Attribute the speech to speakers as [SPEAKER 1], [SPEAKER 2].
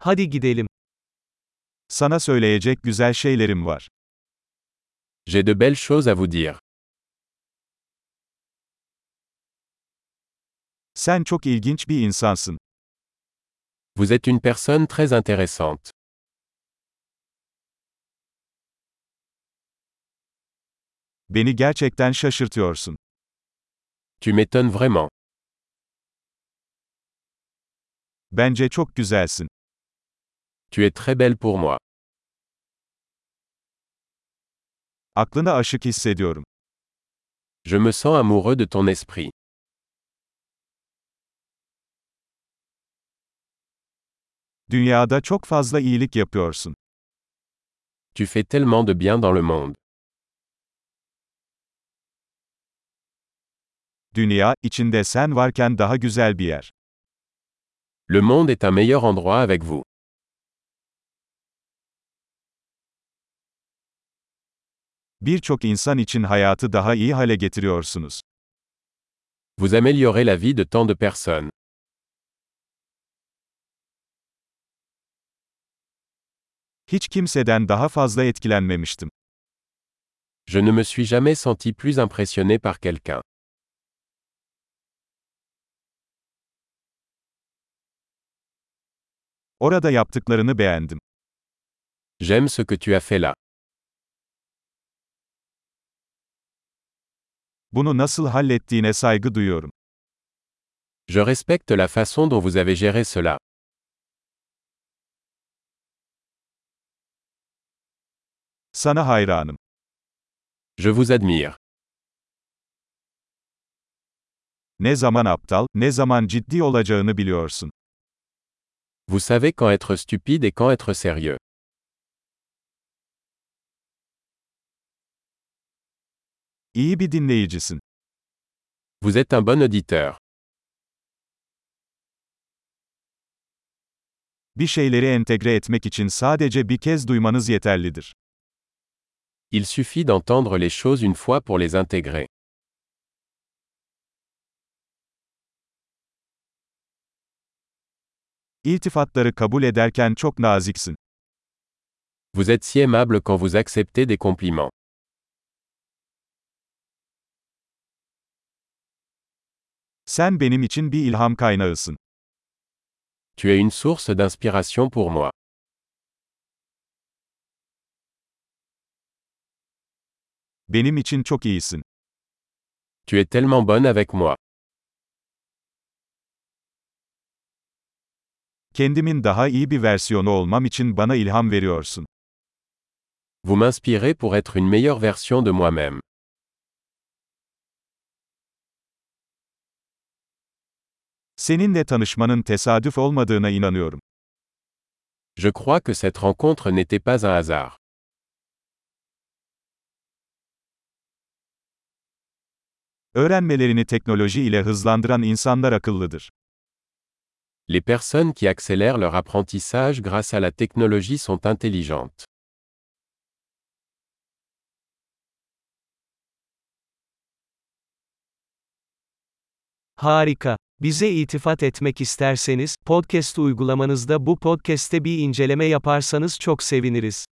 [SPEAKER 1] Hadi gidelim. Sana söyleyecek güzel şeylerim var.
[SPEAKER 2] J'ai de belles choses à vous dire.
[SPEAKER 1] Sen çok ilginç bir insansın.
[SPEAKER 2] Vous êtes une personne très intéressante.
[SPEAKER 1] Beni gerçekten şaşırtıyorsun.
[SPEAKER 2] Tu m'étonnes vraiment.
[SPEAKER 1] Bence çok güzelsin.
[SPEAKER 2] Tu es très belle pour moi.
[SPEAKER 1] Aklına aşık hissediyorum.
[SPEAKER 2] Je me sens amoureux de ton esprit.
[SPEAKER 1] Dünyada çok fazla iyilik yapıyorsun.
[SPEAKER 2] Tu fais tellement de bien dans le monde.
[SPEAKER 1] Dünya, içinde sen varken daha güzel bir yer.
[SPEAKER 2] Le monde est un meilleur endroit avec vous.
[SPEAKER 1] Birçok insan için hayatı daha iyi hale getiriyorsunuz.
[SPEAKER 2] Vous améliorez la vie de tant de personnes.
[SPEAKER 1] Hiç kimseden daha fazla etkilenmemiştim.
[SPEAKER 2] Je ne me suis jamais senti plus impressionné par quelqu'un.
[SPEAKER 1] Orada yaptıklarını beğendim.
[SPEAKER 2] J'aime ce que tu as fait là.
[SPEAKER 1] Bunu nasıl hallettiğine saygı duyuyorum.
[SPEAKER 2] Je respecte la façon dont vous avez géré cela.
[SPEAKER 1] Sana hayranım.
[SPEAKER 2] Je vous admire.
[SPEAKER 1] Ne zaman aptal, ne zaman ciddi olacağını biliyorsun.
[SPEAKER 2] Vous savez quand être stupide et quand être sérieux.
[SPEAKER 1] İyi bir dinleyicisin.
[SPEAKER 2] Vous êtes un bon auditeur.
[SPEAKER 1] Bir şeyleri entegre etmek için sadece bir kez duymanız yeterlidir.
[SPEAKER 2] Il suffit d'entendre les choses une fois pour les intégrer.
[SPEAKER 1] İltifatları kabul ederken çok naziksin.
[SPEAKER 2] Vous êtes si aimable quand vous acceptez des compliments.
[SPEAKER 1] Sen benim için bir ilham kaynağısın.
[SPEAKER 2] Tu es une source d'inspiration pour moi.
[SPEAKER 1] Benim için çok iyisin.
[SPEAKER 2] Tu es tellement bonne avec moi.
[SPEAKER 1] Kendimin daha iyi bir versiyonu olmam için bana ilham veriyorsun.
[SPEAKER 2] Vous m'inspirez pour être une meilleure version de moi-même.
[SPEAKER 1] Seninle tanışmanın tesadüf olmadığına inanıyorum.
[SPEAKER 2] Je crois que cette rencontre n'était pas un hasard.
[SPEAKER 1] Öğrenmelerini teknoloji ile hızlandıran insanlar akıllıdır.
[SPEAKER 2] Les personnes qui accélèrent leur apprentissage grâce à la technologie sont intelligentes.
[SPEAKER 3] Harika. Bize itifat etmek isterseniz, podcast uygulamanızda bu podcast'te bir inceleme yaparsanız çok seviniriz.